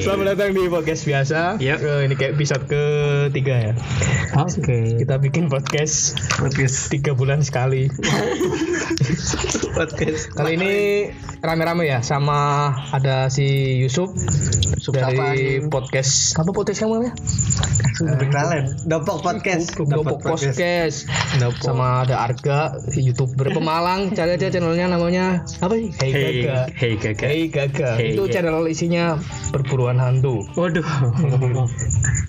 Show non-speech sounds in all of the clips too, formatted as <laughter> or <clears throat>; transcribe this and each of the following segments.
Selamat datang di podcast biasa. Yep. Eh, Ini kayak episode ketiga ya. Oke. Kita bikin podcast <laughs> Podcast. tiga bulan sekali. Podcast. Kali ini rame-rame ya sama ada si Yusuf dari apaan? podcast apa podcast kamu namanya? eh, Berkenalan. Dopok podcast. Dapok Podcast. Sama ada Arga, youtuber pemalang. Cari aja channelnya namanya apa sih? Hey, Hey, Gaga. hey kakak. Hey Gaga. Hey, Itu Gaga. channel isinya perburuan hantu. <laughs> Waduh.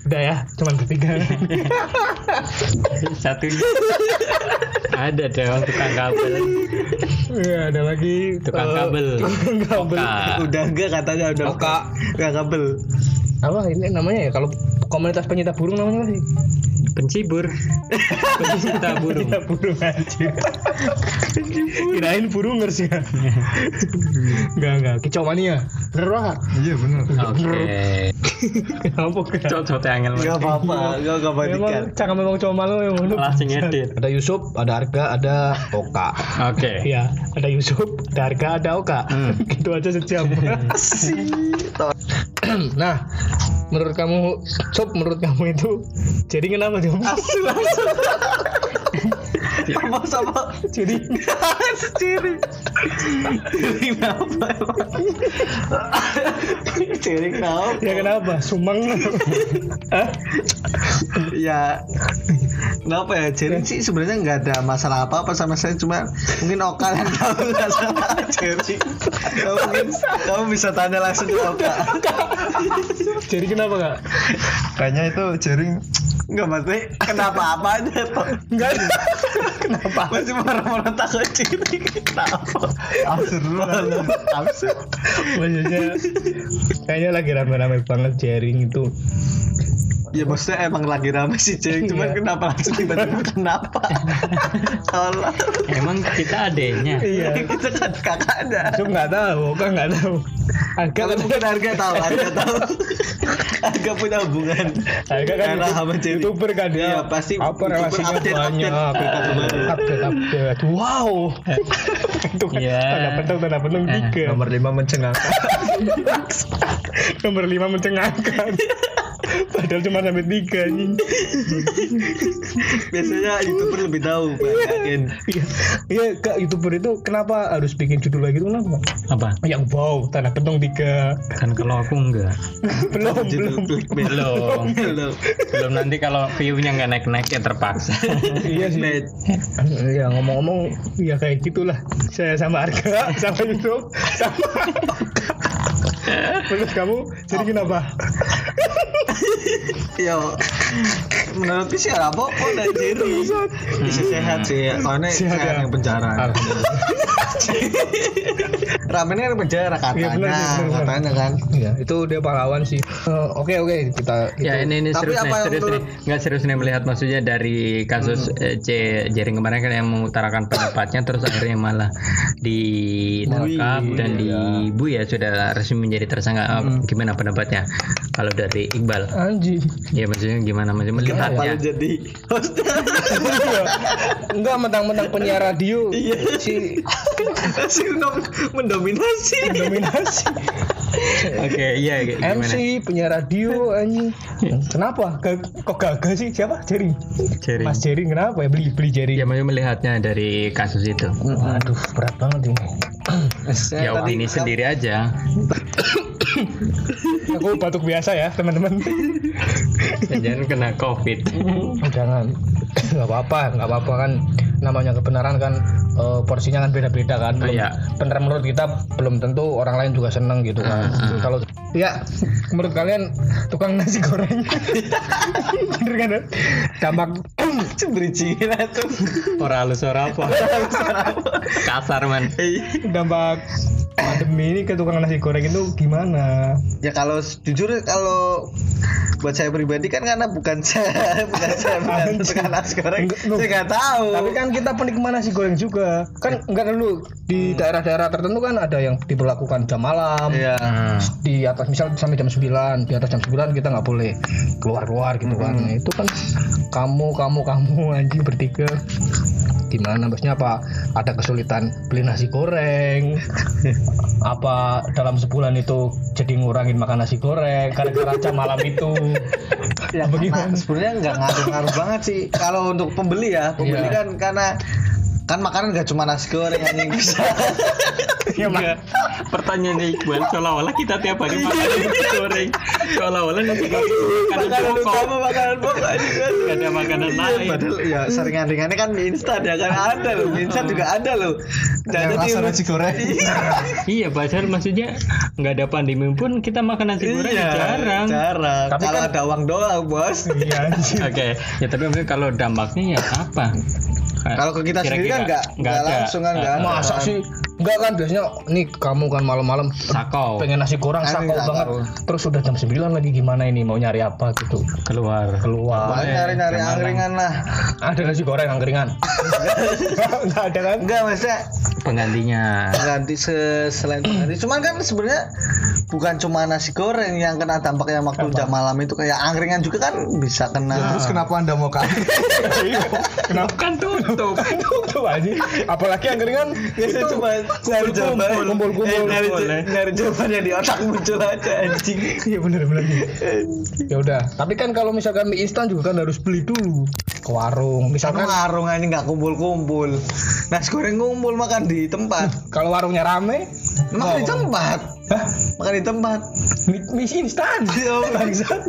Udah ya, cuman bertiga. <laughs> Satu. Ada dong tukang kabel. Ya, ada lagi Tukang eh, kabel. Tukang kabel. Ah, Udah enggak katanya udah Oka. enggak kabel. Apa ini namanya ya? Kalau komunitas penyita burung namanya apa sih? pencibur. Pencinta burung. burung aja. <laughs> Kirain burungers ya. Iya. Enggak enggak, kicau mania. Bener banget. Iya benar. Oke. Kenapa kan? Cocok angel. Enggak apa-apa, enggak enggak bandingkan. Iya. Memang cakap memang cowok malu ya, memang. Langsung edit. Ada Yusuf, ada Arga, ada Oka. Oke. Iya, ada Yusuf, ada Arga, ada Oka. Hmm. <laughs> Gitu aja sejam. <clears throat> nah, menurut kamu, Sob, menurut kamu itu jadi kenapa Sob? Asu asu. Apa sama <laughs> Jadi ciri? Ciri kenapa emang? Ciri kenapa? ya kenapa? Sumeng. Hah? Ya Kenapa ya? Ciri sih sebenarnya nggak ada masalah apa-apa sama saya cuma mungkin Oka yang tahu <laughs> nggak sama Ciri. Kamu mungkin kamu bisa tanya langsung ke Oka. jadi kenapa kak? Kayaknya itu jaring Enggak maksudnya kenapa apa aja toh Enggak. kenapa? Masih marah-marah takut jaring Kenapa Absurd banget Absurd Maksudnya kayaknya lagi rame-rame banget jaring itu. Ya maksudnya emang lagi rame sih jaring Cuman Iya. kenapa langsung tiba-tiba <laughs> kenapa Allah Emang kita adeknya. Iya. Itu kan kakaknya Aku nggak tahu, kak nggak tahu. kan Agak Kalau mungkin harga tahu, harga tahu. harga punya hubungan. Harga kan Era itu- sama Jerry. youtuber kan dia. Iya, pasti apa youtuber relasinya update, banyak. update. Update, update. <laughs> Wow. itu kan Iya. tanda pentung tanda pentung Eh, tiga. Nomor, 5 <laughs> mencengangkan. lima mencengangkan. Padahal cuma sampai tiga anjing. Biasanya youtuber lebih tahu, Pak. Yakin. Iya, iya kak youtuber itu kenapa harus bikin judul lagi itu kenapa? Apa? Yang wow, tanda pentung tiga. Kan kalau aku enggak. belum Judul belum. clickbait. Belum. Belum. Belum nanti kalau view-nya nggak naik-naik ya terpaksa. <laughs> iya sih. Clickbait. Ya ngomong-ngomong ya kayak gitulah. Saya sama Arga, <laughs> sama Yusuf, sama Menurut kamu jadi kenapa? Yo, menurutku sih nggak apa-apa Iya, dan Jerry Bisa sehat sih, soalnya Hmm. Sehat sehat, ya? yang penjara. Ramennya kan yang penjara Iya, katanya, benar sih, benar, benar. katanya kan. Ya, itu dia pahlawan sih. Eh, Oke oke kita Ya ini ini Tapi serius apa nih, yang serius menurut- nih. Nggak serius nih melihat maksudnya dari kasus eh, C Jering kemarin kan yang mengutarakan pendapatnya terus akhirnya malah ditangkap dan dibu ya sudah resmi menjadi tersangka. Eh, Gimana pendapatnya kalau dari Iqbal? Anji. Ya maksudnya gimana maksudnya Iya, Kenapa melihatnya? lu jadi host? Enggak mentang-mentang penyiar radio Iya. si Masih mendom- Iya. mendominasi. dominasi Oke, iya gimana? MC penyiar radio anjing. Kenapa? Ga- Kok gagal sih? Siapa? Jering. Jering. Mas Jering kenapa ya beli beli Jering? Ya maksudnya melihatnya dari kasus itu. Aduh berat banget ini. Ya Saya tadi- ini sendiri aja. Aku batuk biasa ya teman-teman. Jangan kena covid. Oh, Jangan <clears throat> nggak apa-apa, nggak apa-apa kan namanya kebenaran kan eh, porsinya kan beda-beda kan. Belum, Iya. Benar menurut kita belum tentu orang lain juga seneng gitu kan. Ah, ah. Kalau ya menurut kalian tukang nasi goreng <laughs> bener kan? Dampak <clears throat> Bericingan tuh. Orang halus ora apa? <laughs> Iya. Kasar man. dampak pandemi ini ke tukang nasi goreng itu gimana? Ya kalau jujur kalau buat saya pribadi kan karena bukan saya <laughs> bukan saya bukan Anjing. tukang nasi goreng Enggak, lu- saya nggak tahu Tapi kan kita penikmat nasi goreng juga. Kan enggak dulu di daerah-daerah tertentu kan ada yang diberlakukan jam malam. Iya. Hmm. di atas misal sampai jam 9 di atas jam 9 kita nggak boleh keluar keluar gitu kan Nah, itu kan kamu kamu kamu <laughs> anjing bertiga gimana maksudnya apa ada kesulitan beli nasi goreng apa dalam sebulan itu jadi ngurangin makan nasi goreng karena raca malam itu ya karena sebenarnya nggak ngaruh-ngaruh banget sih kalau untuk pembeli ya pembeli Iya. kan karena kan makanan nggak cuma nasi goreng anjing <laughs> bisa Iya, Iya, ya mak Iya. Pertanyaannya Iqbal, seolah-olah kita tiap hari makan nasi goreng. Seolah-olah nasi goreng makanan makanan pokok. utama makanan pokok anjing kan Gak ada makanan Iya, lain. padahal ya seringan-ringannya kan mie instan ya kan ada loh mie instan juga ada loh dan rasa nasi goreng Iya, padahal maksudnya nggak ada pandemi pun kita makan nasi goreng iya jarang. jarang Tapi kalau kan- ada uang doang bos iya anjing. Oke, ya tapi maksudnya kalau dampaknya ya apa? kalau ke kita sendiri kan Kira-kira nggak nggak ada. Eh, langsung kan nggak ada. masa sih enggak kan biasanya nih kamu kan malam-malam Oh. Sakau pengen nasi goreng Aneh, sakau nggak banget tahu. terus udah jam 9 lagi gimana ini mau nyari apa gitu keluar. keluar Paling nyari-nyari Kemalang. angkringan lah ada nasi goreng <laughs> angkringan enggak ada kan enggak maksudnya penggantinya ganti se selain pengganti cuman kan sebenarnya bukan cuma nasi goreng yang kena dampaknya waktu jam malam itu kayak angkringan juga kan bisa kena terus kenapa anda mau kaget kenapa Kan tutup. tuh anjing apalagi angkringan <laughs> biasanya cuma nyari jawaban kumpul-kumpul. Iya. eh, nyari, nyari jawaban yang di otak muncul aja anjing Iya bener bener. ya udah. Tapi kan kalau misalkan mie instan juga kan harus beli dulu ke warung. karena Misalkan warung aja nggak kumpul-kumpul nasi goreng kumpul makan di tempat kalau warungnya rame, makan di tempat hah? makan di <laughs> tempat Mie, mie <laughs> instan. Iya, Bangsat.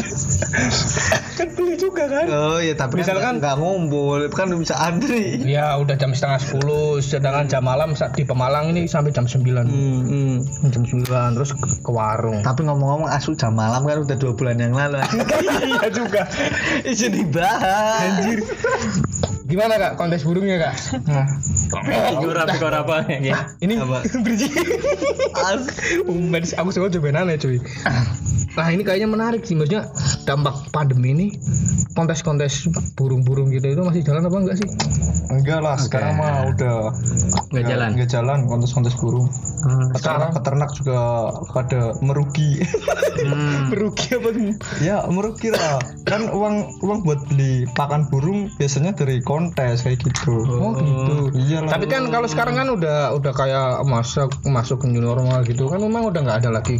kan beli juga kan. oh ya tapi Misalkan- misalkan nggak ngumpul kan bisa antri Ya udah jam setengah sepuluh, sedangkan jam malam saat di Pemalang ini sampai jam sembilan, Hmm, hmm. jam sembilan terus ke, ke warung. Tapi ngomong-ngomong asu jam malam kan udah dua bulan yang lalu. <laughs> Iya juga. Izin dibahas. Anjir. Gimana kak kontes burungnya <laughs> kak? Nah. Ora pikir apa ya. Ini <laughs> Apa? berji. Umben aku suka cobain aneh cuy. Nah ini kayaknya menarik sih maksudnya dampak pandemi ini kontes-kontes burung-burung gitu itu masih jalan apa enggak sih? Enggak lah, sekarang mah udah nggak jalan enggak jalan Hmm, kontes-kontes burung. Peternak, peternak juga pada merugi. <laughs> Hmm. Merugi apa sih? ya, merugi lah. Kan uang uang buat beli pakan burung biasanya dari kontes kayak gitu. Oh, gitu. Iya lah. Tapi kan kalau sekarang kan udah udah kayak masuk masuk ke new normal gitu kan memang udah nggak ada lagi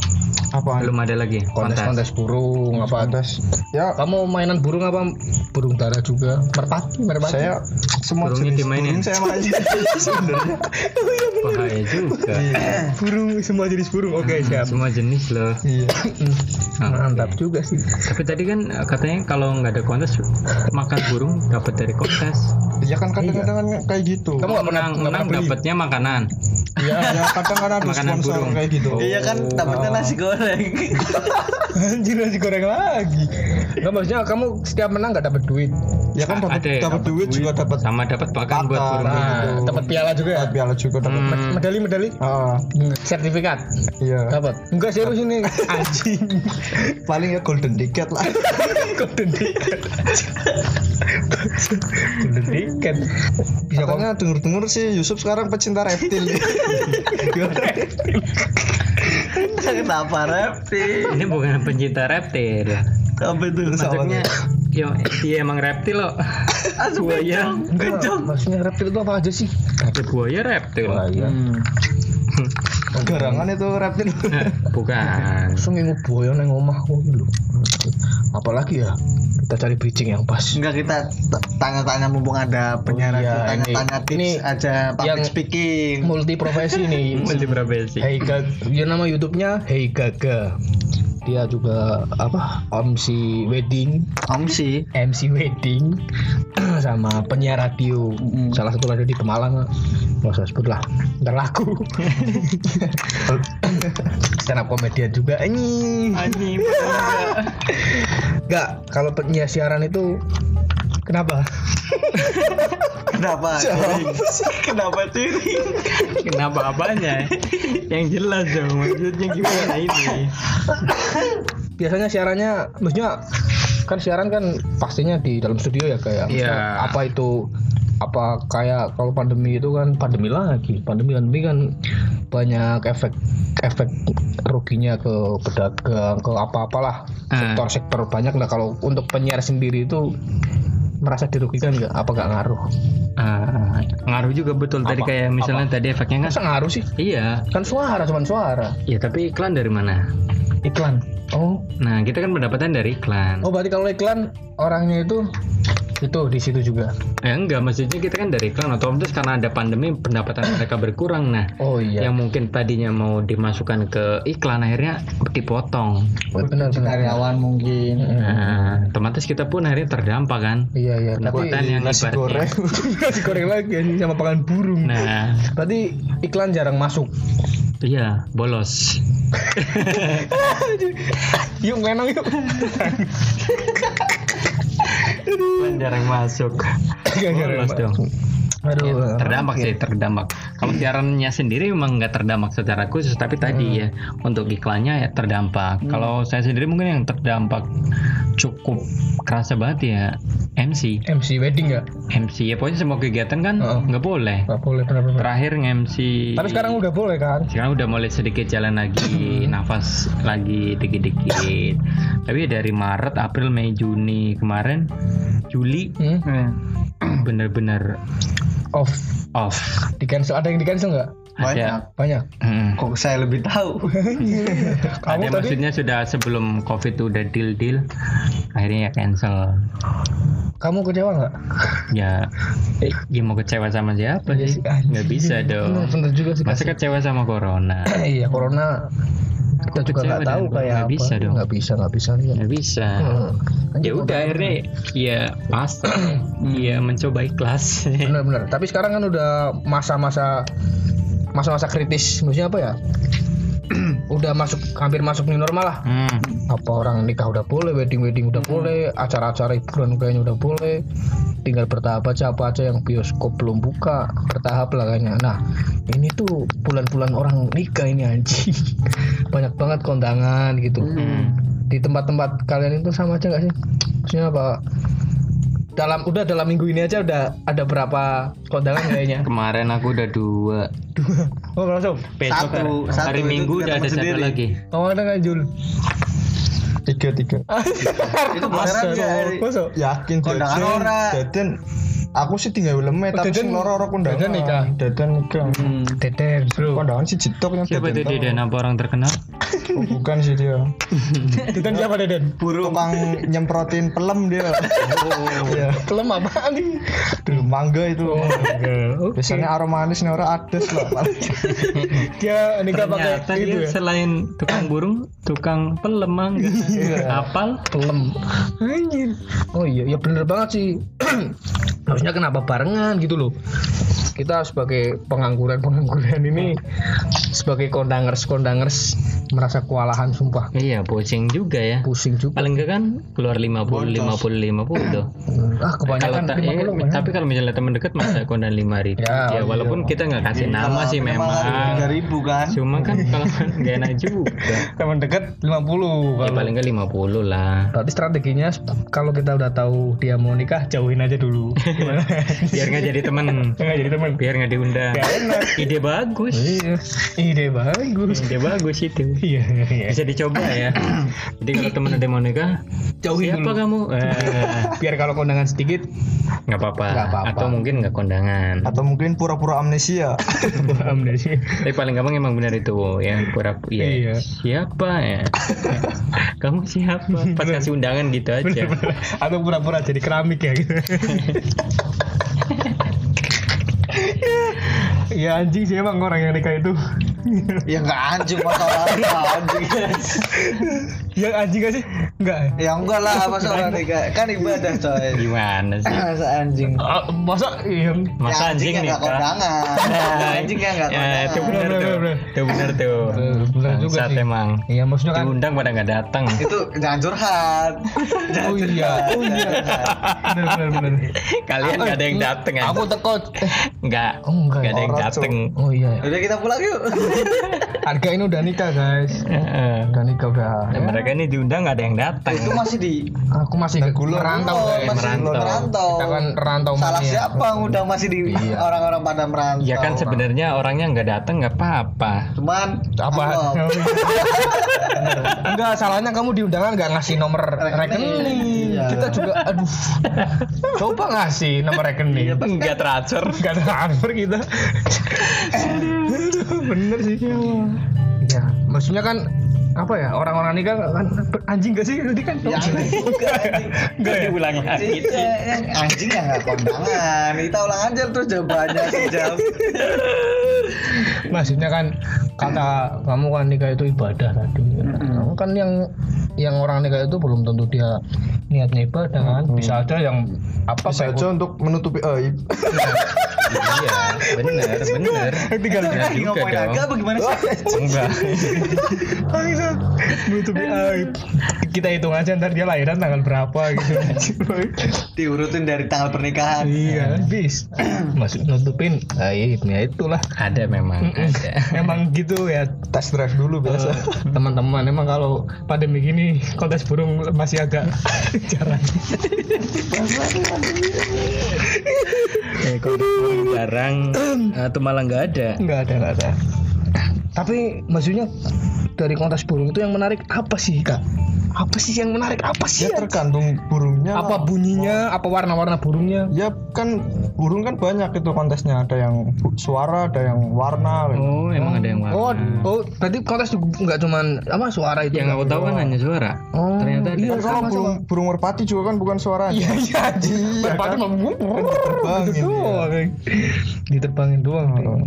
apa? belum ada lagi kontes kontes-kontes burung apa ada? Kontes. Ya, Kamu mainan burung apa burung dara juga? Merpati, merpati. saya semua Burungnya jenis dimainin. burung saya mainin sebenarnya. bahaya juga Iya. Eh, burung semua jenis burung. Iya, Oke, siap. semua jenis loh Iya. Mantap juga sih. tapi tadi kan eh, katanya kalau nggak ada kontes makan burung dapat dari kontes Iya kan kadang-kadang kan kayak gitu. Kamu nggak pernah menang nggak menang pernah beli? dapatnya makanan Iya, ya kadang kan ada Makanan sponsor burung. Oh, kayak gitu. <laughs> Iya kan dapetnya nasi goreng. Anjir nasi goreng lagi. Enggak maksudnya kamu setiap menang nggak dapat duit. Ya kan dapat Ada ya, dapat dapat duit juga kan? dapat sama dapat pakan buat Pakan. burung Nah, Gitu. dapat piala juga ya. dapat piala juga dapat Hmm, Medali-medali, ah sertifikat iya dapat. Enggak serius <laughs> ini anjing. paling ya golden ticket lah Golden ticket. Golden ticket. Bisa kok katanya denger dengar sih Yusuf sekarang pecinta reptil Kenapa reptil? ini bukan pencinta reptil ya Apa itu? maksudnya ya dia emang reptil loh Asu buaya Enggak, Maksudnya reptil itu apa aja sih? Ya, buaya reptil iya. garangan itu reptil Eh, <laughs> bukan Langsung ngingu boyo neng omahku lho. Apalagi ya kita cari bridging yang pas. Enggak kita t- tanya-tanya mumpung ada penyiar iya, kita ini- tanya-tanya tips ini aja public yang- speaking. Multi profesi nih. multi profesi Hey Gaga, dia nama YouTube-nya Hey Gaga. Dia juga apa? MC wedding, Om sih. MC wedding <clears throat> sama penyiar radio. Salah satu radio di Pemalang. Nggak usah sebut lah. Ntar laku. Stand up comedian juga. Ini Anjing. enggak kalau penyiar siaran itu kenapa? Kenapa? Ciring? Kenapa ciring? Kenapa eh? apanya? Yang jelas dong maksudnya gimana ini? Biasanya siarannya maksudnya kan siaran kan pastinya di dalam studio ya kayak Iya. apa itu apa kayak kalau pandemi itu kan pandemi lagi pandemi pandemi kan banyak efek efek ruginya ke pedagang ke apa apalah Eh. sektor sektor banyak nah kalau untuk penyiar sendiri itu merasa dirugikan nggak apa nggak ngaruh Ah, Ngaruh juga betul tadi Apa? kayak misalnya tadi efeknya kan. masa ngaruh sih Iya. kan suara cuman suara Ya tapi iklan dari mana? iklan oh Nah kita kan pendapatan dari iklan. oh berarti kalau iklan orangnya itu itu di situ juga Ya enggak maksudnya kita kan dari iklan otomatis karena ada pandemi pendapatan mereka berkurang. Nah oh iya yang mungkin tadinya mau dimasukkan ke iklan akhirnya dipotong. benar benar karyawan mungkin Hmm. Nah, otomatis kita pun akhirnya terdampak kan. iya iya tapi <laughs> Pendapatan yang nasi ibaratnya- goreng digoreng lagi anjing sama pakan burung Nah, berarti iklan jarang masuk iya bolos. yuk menang <laughs> yuk Iklan jarang masuk. Bolos dong. Iya, aduh Terdampak sih, terdampak. Hmm. Kalau siarannya sendiri memang nggak terdampak secara khusus, tapi tadi ya untuk iklannya ya terdampak. Hmm. Kalau saya sendiri mungkin yang terdampak cukup kerasa banget ya MC, MC wedding nggak MC ya pokoknya semua kegiatan kan Heeh. nggak boleh. nggak boleh benar benar Terakhir MC. Oh. tapi sekarang Hmm. udah boleh kan sekarang udah mulai sedikit jalan lagi nafas lagi dikit-dikit tapi dari Maret April Mei Juni kemarin Juli <clears throat> hmm? bener-bener off off di cancel ada yang di cancel nggak ada banyak Mm. kok saya lebih tahu kamu <laughs> ada tadi maksudnya sudah sebelum covid udah deal deal akhirnya ya cancel kamu kecewa nggak ya ya mau kecewa sama siapa Iya sih sih, anjing. nggak bisa bener dong bener juga sih masa kasih kecewa sama corona <clears throat> iya corona kita juga Kecewa nggak tahu dan kayak nggak apa bisa dong. nggak bisa nggak bisa iya nggak bisa Hmm. ya udah akhirnya ya pas ya mencoba ikhlas benar-benar tapi sekarang kan udah masa-masa masa-masa kritis maksudnya apa ya <clears throat> udah masuk hampir masuk new normal lah Hmm. apa orang nikah udah boleh wedding wedding udah boleh acara-acara hiburan kayaknya udah boleh tinggal bertahap aja apa aja yang bioskop belum buka bertahap lah kayaknya nah ini tuh bulan-bulan orang nikah ini anjing <laughs> banyak banget kondangan gitu di tempat-tempat kalian itu sama aja nggak sih maksudnya apa dalam udah dalam minggu ini aja udah ada berapa kondangan kayaknya Kemarin aku udah dua. <laughs> oh langsung Satu, Besok hari, satu hari itu Minggu kita udah ada teman satu sendiri. lagi. kamu ada nggak Jul <laughs> tiga tiga itu beneran Masa, nggak? masa? yakin Kondangan ora. dadan aku sih tinggal lemeh Oh, tapi Dadan- sing loro loro kondangan Dadan nikah. Hmm. dadan nikah Deden bro kondangan si jitok yang Siapa itu tau. Deden apa orang terkenal? Oh, bukan sih dia Deden siapa Deden burung tukang nyemprotin pelem <laughs> dia Iya. <laughs> kelem apaan nih dulu mangga itu Kan Oh, Oke. biasanya aroma manis nih orang ades lah <laughs> dia nikah pakai Ternyata itu dia ya selain tukang burung, tukang pelemang, Iya. apal. kelem oh iya ya bener banget sih <clears throat> harusnya kenapa barengan gitu loh kita sebagai pengangguran pengangguran ini sebagai kondangers kondangers merasa kewalahan sumpah Iya, bocing juga ya. pusing juga Paling enggak kan keluar 50 <clears throat> ah 50 50. Kalau kebanyakan ta- eh, 50 banyak. tapi kalau misalnya teman dekat <clears throat> masa kondan Ya, 5000. Iya. Ya, walaupun kita nggak kasih nama sih tiga memang. ribu kan Cuma <clears throat> kan kalau nggak enak juga. teman dekat 50 Ya, paling enggak 50 lah. berarti strateginya kalau kita udah tahu dia mau nikah jauhin aja <laughs> dulu gimana Biar nggak jadi teman. nggak jadi teman biar nggak diundang ide bagus iya ide bagus ide bagus itu iya iya bisa dicoba ya <clears throat> jadi kalau teman ada yang mau nikah jauhin siapa dulu kamu Eh, biar kalau kondangan sedikit nggak apa-apa Nggak apa-apa. atau mungkin nggak kondangan atau mungkin pura-pura amnesia paham dari <laughs> sini tapi paling gampang emang benar itu ya pura ya Iya. siapa <laughs> ya kamu siapa pas kasih undangan gitu aja atau pura-pura jadi keramik ya <laughs> gitu ya anjing sih emang orang yang nikah itu <laughs> ya nggak anjing masa orang anjing yang Ya, anjing gak sih enggak ya? ya enggak lah masa orang nikah kan ibadah coy gimana sih masa anjing Ah, masa iya Ya, masa anjing nggak nikah kondangan <laughs> anjing kan nggak ya itu kondangan benar tuh itu benar tuh benar juga Bangsat sih. emang iya maksudnya kan diundang pada nggak datang itu jangan curhat jangan Oh iya, curhat, oh iya. jangan curhat. benar benar benar <laughs> kalian nggak ada yang datang aku kan teko eh, nggak oh enggak nggak ada yang orang, datang oh iya udah kita pulang yuk Harga ini udah nikah guys. Udah nikah udah. Nah, mereka ini diundang nggak ada yang datang. itu masih di Ya, Aku masih ke gulung. merantau guys. Oh, masih merantau. merantau. Kita kan rantau salah mania. siapa udah masih di Iya. orang-orang pada merantau Ya kan sebenarnya orangnya nggak datang nggak apa-apa. cuman Apa? <laughs> anggap. <laughs> Enggak, salahnya kamu di undangan nggak ngasih nomor rekening. Rekening. Iya. Kita juga <laughs> aduh. Coba ngasih nomor Iya, rekening. kan- Nggak transfer. Enggak transfer <laughs> kita. Aduh, bener sih. Iya. Ya, maksudnya kan apa ya orang-orang nikah kan anjing gak sih tadi kan Ya, anjing juga, anjing. Nggak diulang lagi. Iya, yang anjing yang nggak kondangan kita ulang aja terus jawabannya <laughs> sejam maksudnya kan kata kamu kan nikah itu ibadah tadi Kamu kan yang yang orang nikah itu belum tentu dia niatnya ibadah kan bisa aja yang apa Bisa kayak- aja untuk menutupi aib. iya, bener, bener. Tinggal Bener lagi ngomongin Ya juga dong. agak apa gimana <laughs> sih Enggak. menutupi aib kita hitung aja ntar dia lahiran tanggal berapa <laughs> gitu diurutin dari tanggal pernikahan iya bis masuk nutupin aibnya itulah Ada memang, ada. emang gitu ya Eh, Test drive dulu biasa. teman-teman emang kalau pandemi gini kontes burung masih agak <laughs> jarang Eh, kalau dikurung barang atau malah nggak ada. nggak ada nggak ada tapi maksudnya dari kontes burung itu yang menarik apa sih kak apa sih yang menarik apa sih Iya, Ya ya? tergantung burungnya. apa lah. bunyinya apa warna-warna burungnya Ya kan burung kan banyak itu kontesnya ada yang bu- suara ada yang warna gitu. Oh, emang ada yang warna. oh oh berarti kontes juga nggak cuman apa suara itu yang aku tahu kan hanya suara. oh Ternyata ada. iya Kan kalau sama burung burung merpati juga kan bukan suaranya. iya iya anjing. berpatu kan? mem- gitu Diterbangin dia. doang, anjing. diterbangin doang anjing.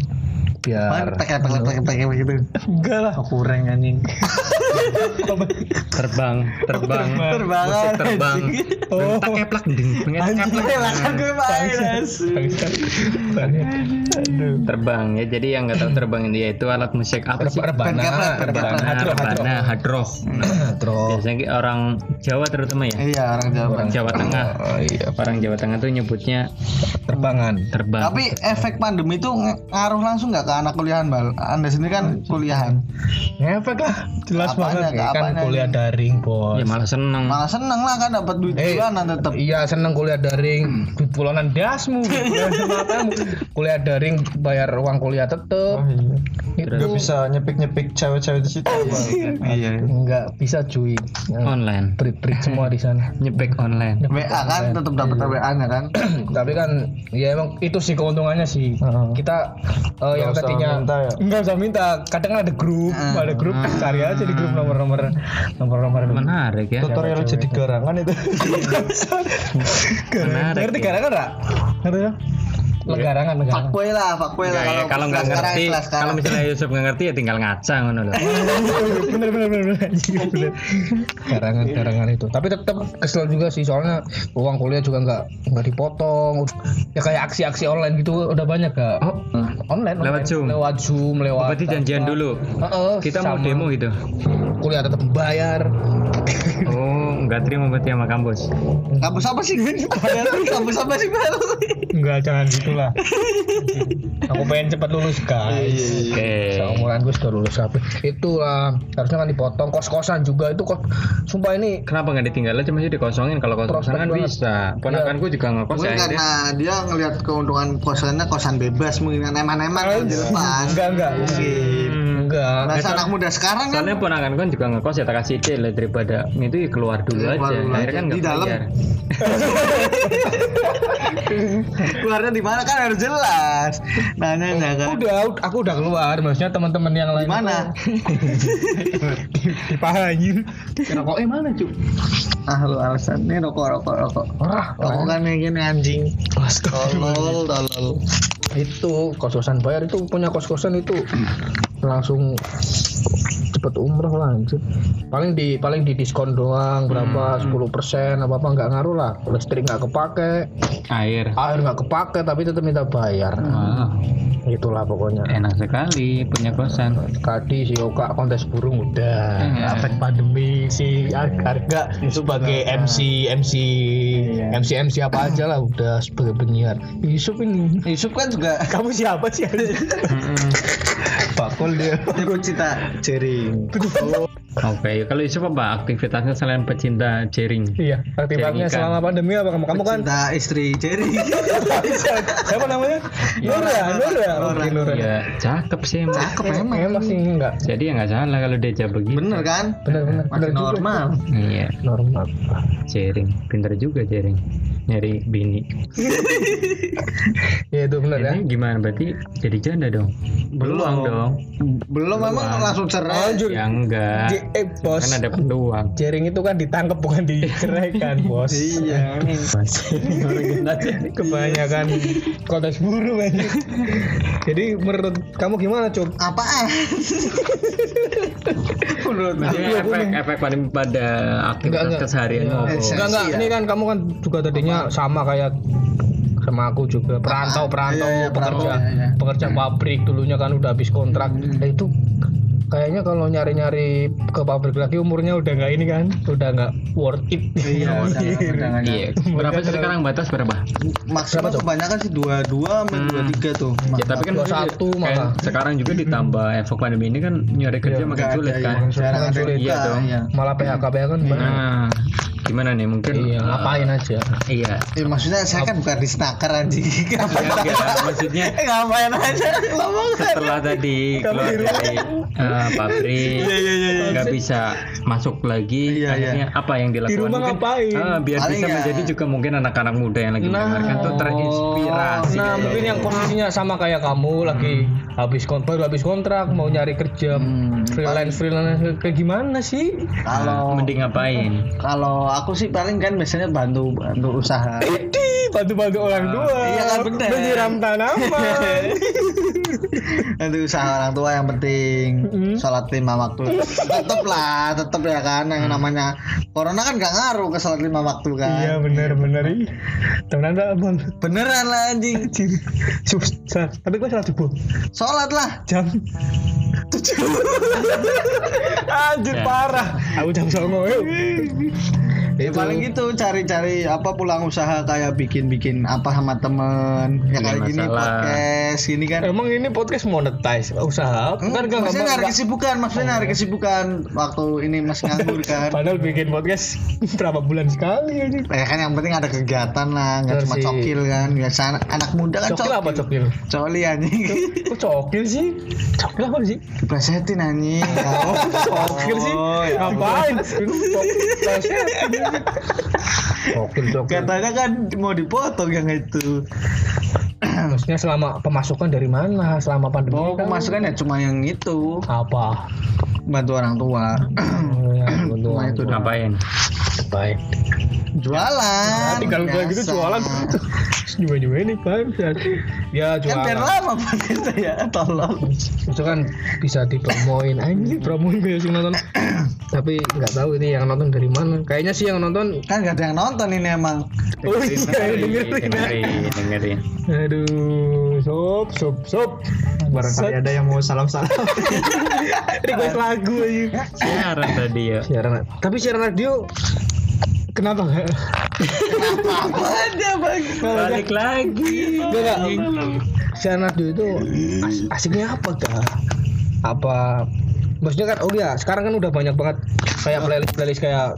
biar pakai pakai pakai pakai gitu enggak lah kurang anjing Terbang, terbang. terbangan Musik terbang. Oh. Tak keplak ding, pengen keplak. Lah, kan gue main Bangsat. Bangsat. aduh Terbang ya. Jadi yang nggak tahu terbang ini yaitu alat musik apa sih? rebana Perkeplak, perkeplak. Rebana, rebana, hadroh. terus Biasanya orang Jawa terutama ya. iya orang Jawa Orang Jawa oh, iya. Tengah. Orang Jawa Tengah tuh nyebutnya terbangan terbang. tapi efek pandemi itu ng- ngaruh langsung nggak ke anak kuliahan bal anda sendiri kan kuliahan ngefek lah jelas Apanya, banget ya, kan keapanya kuliah daring bos ya malah seneng. malah seneng lah kan dapat duit Eh. bulanan tetap Iya seneng kuliah Hmm. daring duit bulanan <laughs> dasmu kuliah sematamu. kuliah daring bayar uang kuliah tetep Oh, iya. Nggak itu bisa ya. nyepik-nyepik cewek-cewek di situ. iya nggak bisa cuy Oh, Online. <laughs> Prit-prit semua di sana Nyepek online. WA kan tetap dapat WA nya kan tapi kan ya emang itu sih keuntungannya sih kita eh, yang usah tadinya minta ya? nggak usah minta kadang kan ada grup ada grup cari aja di grup nomor-nomor nomor-nomor Menarik ya. Tutorial jadi garangan <laughs> itu. Menarik. ngerti ya. garangan nggak ngerti kan legarangan legarangan fuckboy lah fuckboy lah Nggak ya, kalau nggak kelas sekarang, kan. ngerti, kelas sekarang. kalau misalnya Yusuf nggak ngerti ya tinggal ngaca ngono loh. bener bener bener bener bener garangan garangan itu tapi tetap kesel juga sih soalnya uang kuliah juga nggak nggak dipotong ya kayak aksi-aksi online gitu udah banyak gak <laughs> Oh, online Lewat online. Zoom. Oh, lewat zoom lewat berarti janjian dulu. Heeh, Kita mau sama. demo gitu. kuliah tetap bayar Oh, nggak terima berarti sama kampus. kampus apa sih kampus apa sih Bal? Enggak, jangan gitulah. <laughs> Aku pengen cepat lulus, Iya, guys. Oke. Seumuran gue sudah lulus apa? Itulah harusnya kan dipotong kos-kosan juga itu kok. Sumpah ini Kenapa nggak ditinggal aja masih dikosongin kalau kos-kosan Prospek kan banget. bisa. Ponakanku juga ngekos Mungkin ya. dia. karena dia ngelihat keuntungan kosannya kosan bebas mungkin eman-eman kan dilepas enggak enggak Mungkin. enggak. Masa anak muda sekarang kan Soalnya ponakanku kan juga ngekos ya tak kasih ide lah daripada itu ya keluar dulu Keluar aja. dulu Akhirnya aja. kan nggak Di dalam. bayar. keluarnya di mana kan harus jelas. Nanya kan. Udah, ud- aku udah keluar. Maksudnya teman-teman yang lain Di mana? di paha anjir. Rokoknya mana, Cuk? Ah lu alasan nih rokok rokok rokok. Wah, Rokok kan yang gini anjing. Tolol tolol. itu kos-kosan bayar itu punya kos-kosan itu langsung cepet umroh lah anjir. paling di paling di diskon doang berapa 10% apa apa nggak ngaruh lah listrik nggak kepake Air. Ah. air nggak kepake tapi tetap minta bayar Wow. Itulah pokoknya. Enak sekali punya kosan. Tadi si Oka oh, kontes burung udah Hmm. efek pandemi si harga sebagai Nah. MC MC Iya. MC MC apa aja lah udah sebagai penyiar Yusuf ini <laughs> Yusuf kan juga kamu siapa sih Hmm. bakul dia tipe cita jering Oke, kalau Yusuf apa aktivitasnya selain pecinta jaring? iya aktivitasnya Jaringan. selama pandemi apa kamu kamu kan cinta istri jering <laughs> siapa namanya Iya. ya? Nora Nora Nora. Oke, Nora Ya, cakep sih emang. Eh. emang emang sih enggak Jadi ya nggak salah kalau diajak begitu. bener kan benar benar benar masih juga. normal Iya, normal jaring. Pinter juga jaring. Nyari bini. ya itu benar ya Ini gimana berarti jadi janda dong? Peluang dong. belum memang langsung cerai lanjut Ya enggak. J- eh bos Kan ada peluang. jaring itu kan ditangkap bukan <laughs> diceraikan bos iya kebanyakan kontes buru anjing. jadi menurut kamu gimana cuk apaan menurut Maksudnya efek efek pada pada aktivitas Enggak, enggak. Iya. keseharian apa? enggak enggak ini kan kamu kan juga tadinya sama kayak sama aku juga perantau perantau Ah, Iya, iya, pekerja perantau, iya, Hmm, iya. pekerja pabrik dulunya kan udah habis kontrak Nah, itu kayaknya kalau nyari-nyari ke pabrik lagi umurnya udah nggak ini kan udah nggak worth it iya <laughs> Iya. Berapa sih sekarang batas berapa? maksimal kebanyakan sih dua dua dua tiga tuh Ya tapi kan Dua maksudnya satu kayak malah. sekarang juga ditambah efek pandemi ini kan nyari kerja makin Nggak sulit ada, kan. iya, jarang ada yang Sulit. buka, Iya dong. iya. malah PHK PHK kan banyak. Nah, gimana nih mungkin? iya eh, ngapain nah. aja Iya. Eh, maksudnya saya kan bukan di snacker <laughs> anjing ngapain Enggak, maksudnya eh, ngapain aja ngomong kan setelah tadi keluar dari eh, Iya, pabrik nggak bisa masuk lagi Iya, akhirnya apa yang dilakukan Di rumah Mungkin, ngapain? eh, biar Paling bisa ya. menjadi juga mungkin anak-anak muda yang lagi mendengarkan tuh terinspirasi Nah, gitu. mungkin yang posisinya sama kayak kamu lagi habis kontrak, baru habis kontrak mau nyari kerja freelance freelance kayak gimana sih? kalau Nah, mending ngapain kalau aku sih paling kan biasanya bantu bantu usaha Di bantu-bantu orang tua. iya kan, bener. Menyiram tanaman. Nanti usaha orang tua yang penting Hmm. sholat lima waktu tetep lah tetep ya kan Hmm. yang namanya corona kan gak ngaruh ke sholat lima waktu <laughs> kan iya benar benar iya. Temenan enggak Bang? beneran lah anjing Susah. Tapi gua salah jebol. sholat lah Jam <laughs> Anjir parah. Ya. Iya, Aku jam songo. eh. ya paling gitu cari-cari apa pulang usaha kayak bikin-bikin apa sama temen ya kayak Bikin gini masalah. podcast gini kan Emang ini podcast monetize usaha? Enggak, Kan enggak maksudnya nyari enggak kesibukan, maksudnya Iya. nyari kesibukan waktu ini masih nganggur <laughs> kan. Padahal bikin podcast <laughs> berapa bulan sekali ini. Ya kan yang penting ada kegiatan lah, nggak Bener cuma sih. cokil kan. Biasa anak, anak muda kan Cokil cokil. apa cokil? Coli <laughs> anjing. Kok cokil sih? Cokil apa sih? Diplesetin anjing. <laughs> Oh, ya Cokil sih? Oh, Ngapain? Cokil, cokil. Katanya kan mau dipotong yang itu. Maksudnya selama pemasukan dari mana? Selama pandemi Mau kan? pemasukan ya cuma yang itu, Apa? bantu orang tua. <clears throat> Oh, ya, untuk Cuma Hmm. Nah, itu doang. ngapain baik. Jualan. Tapi kalau kayak gitu biasa. jualan <laughs> juga juga ini kan. Ya Kan biar jualan. lama Pak, ya, tolong. Itu kan bisa dipromoin anjir, promoin gue sih nonton. Tapi nggak tahu ini yang nonton dari mana. Kayaknya sih yang nonton Kan gak ada yang nonton ini emang. Oh iya, <laughs> dengerin. dengerin dengerin Aduh, sop, sop, sop. barangkali Set. ada yang mau salam salam Request lagu aja. siaran tadi ya Siaran, tapi siaran radio kenapa nggak? Apaan dia bang? balik lagi Nggak, nggak. Siaran radio itu as- asiknya apa kah? Apa? Maksudnya kan, oh iya, sekarang kan udah banyak banget kayak playlist playlist kayak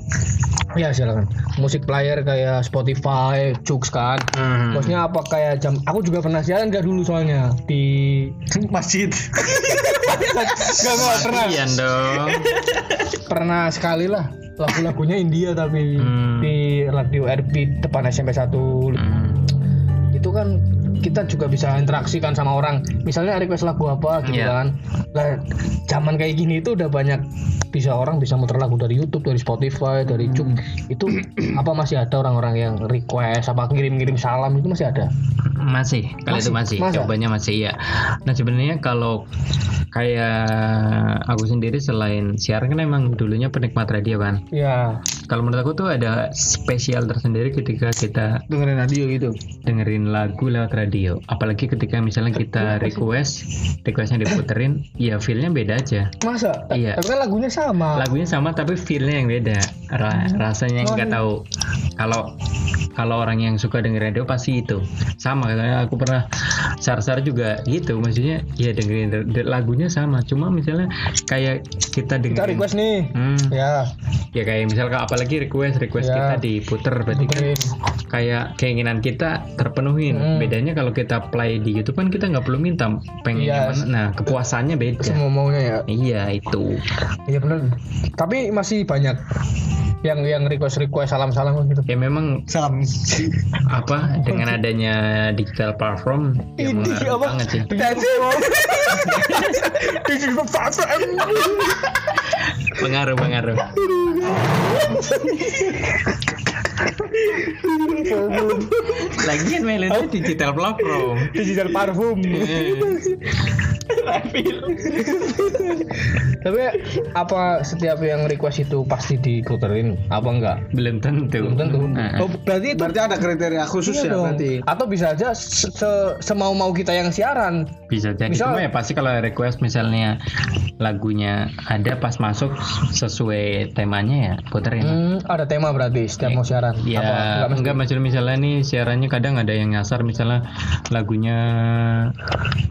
ya silakan musik player kayak Spotify, Joox kan. Hmm. Maksudnya apa kayak jam? Aku juga pernah siaran gak dulu soalnya di <laughs> Masjid. Gak, gak pernah. Kasian dong pernah sekali lah lagu-lagunya India tapi Hmm. di radio RP depan SMP 1 Hmm, itu kan kita juga bisa interaksi kan sama orang misalnya request lagu apa gitu Iya. kan lah zaman kayak gini itu udah banyak bisa orang bisa muter lagu dari YouTube dari Spotify dari Jum Hmm. itu <clears throat> apa masih ada orang-orang yang request apa kirim-kirim salam itu masih ada masih kalau itu masih Masih, masa? jawabannya masih iya nah sebenarnya kalau kayak aku sendiri selain siaran kan emang dulunya penikmat radio kan ya Kalau menurut aku tuh ada spesial tersendiri ketika kita dengerin radio gitu dengerin lagu lewat radio. Apalagi ketika misalnya Iya, kita request, requestnya diputerin, ya feelnya beda aja. Masa? Iya. Tapi kan lagunya sama. Lagunya sama tapi feelnya yang beda. Ra- Hmm. rasanya yang Oh, iya. nggak tahu. Kalau kalau orang yang suka dengerin radio pasti itu sama. Karena aku pernah sar-sar juga gitu. Maksudnya ya dengerin ra- lagunya sama. Cuma misalnya kayak kita kita dengerin. request nih Hmm, Iya. ya ya kayak misalnya apalagi request request kita Ya. diputer berarti kan Dengerin. kayak keinginan kita terpenuhin. Hmm. Bedanya kalau kita play di YouTube kan kita nggak perlu minta Iya. pengennya mana. Nah kepuasannya beda. Semua maunya ya. Iya itu. Iya benar. Tapi masih banyak yang yang request request salam salam gitu. Ya memang salam apa dengan adanya digital platform Iya, ya mengaruh banget sih. Pengaruh pengaruh. Lagian mainnya digital platform. Eh, Digital parfum. Tapi apa setiap yang request itu pasti dikuterin apa enggak? Belum tentu. Belum tentu. Nah, Oh, berarti itu berarti ada kriteria khusus iya ya dong. berarti Atau bisa aja semau mau kita yang siaran. bisa jadi Misal- cuma ya pasti kalau request misalnya lagunya ada pas masuk sesuai temanya ya puterin Hmm, ada tema berarti setiap mau siaran. ya Apa enggak Iya, mesti? enggak maksudnya misalnya nih siarannya kadang ada yang nyasar misalnya lagunya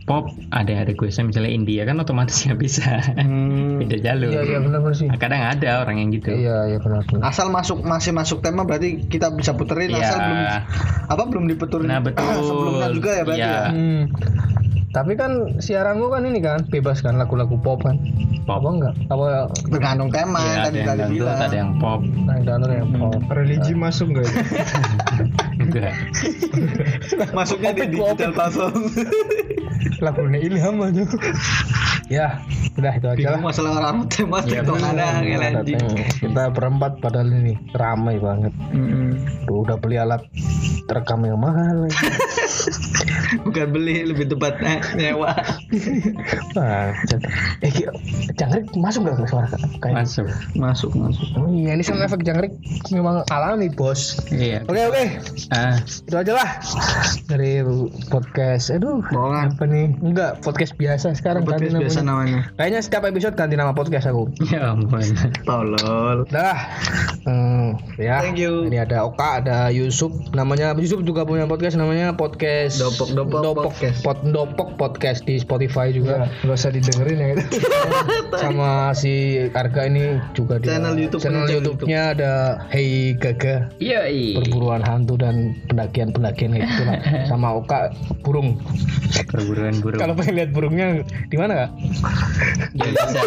pop ada requestnya misalnya India kan otomatis nggak bisa beda jalur Iya iya benar benar sih. Nah, kadang ada orang yang gitu Iya iya benar benar. asal masuk masih masuk tema berarti kita bisa puterin Iya. asal belum apa belum diputerin nah betul <clears throat> sebelumnya juga ya berarti Iya, ya Hmm. Tapi kan siaranmu kan ini kan bebas kan lagu-lagu pop kan? pop Apa enggak? Apa tergantung tema Iya, yang ada tadi yang tadi dangdut bilang ada yang pop Nah, download yang pop. religi masuk nggak ya? enggak <laughs> masuknya di digital platform lagunya ilham aja Ya, udah itu Iya. aja lah. bingung masalah orang tema Iya, tiktok ada kayak anjing Kita berempat padahal ini ramai banget. Tuh, udah beli alat rekam yang mahal. lagi. bukan beli lebih tepatnya nyewa Nah, jat- eh, Ki, jangkrik masuk gak ke suara kayak? masuk masuk masuk Oh iya, ini sound effect jangkrik memang alami bos. iya Oke oke, ah itu aja lah dari podcast. Aduh, Bohongan. apa nih? Enggak, podcast biasa sekarang podcast biasa namanya. namanya Kayaknya setiap episode ganti nama podcast aku. ya ampun tolol Dah. Hmm, ya. Thank you. Ini ada Oka, ada Yusuf. Namanya Yusuf juga punya podcast namanya podcast Dopok- Dopok Podcast. Pod- Dopok podcast di Spotify juga. nggak usah didengerin <laughs> ya itu Sama si Arga ini juga di Channel YouTube. channel Channel YouTube-nya ada Hey Gaga Yoi. perburuan hantu dan pendakian-pendakian kayak gitu lah. Sama Oka burung. Perburuan burung. Kalau pengen lihat burungnya di mana Kak? Ya <laughs> bisa.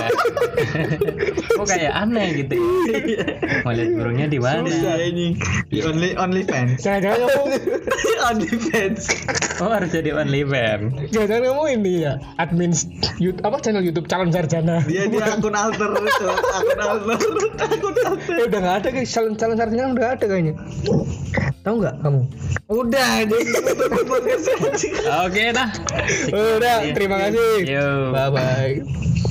Kok kayak aneh gitu. ya? Mau lihat burungnya di mana? Susah ini Di only only <laughs> fans Jangan-jangan kamu <laughs> only fans Oh harus jadi only fan. jangan kamu ini ya admin YouTube apa channel YouTube calon sarjana. dia dia akun alter itu akun alter akun <laughs> alter Eh udah nggak ada guys, calon calon sarjana udah ada kayaknya. Tahu nggak kamu? udah dia tutup <laughs> podcast anjing. Oke dah. Udah, terima kasih. Yo. Bye bye.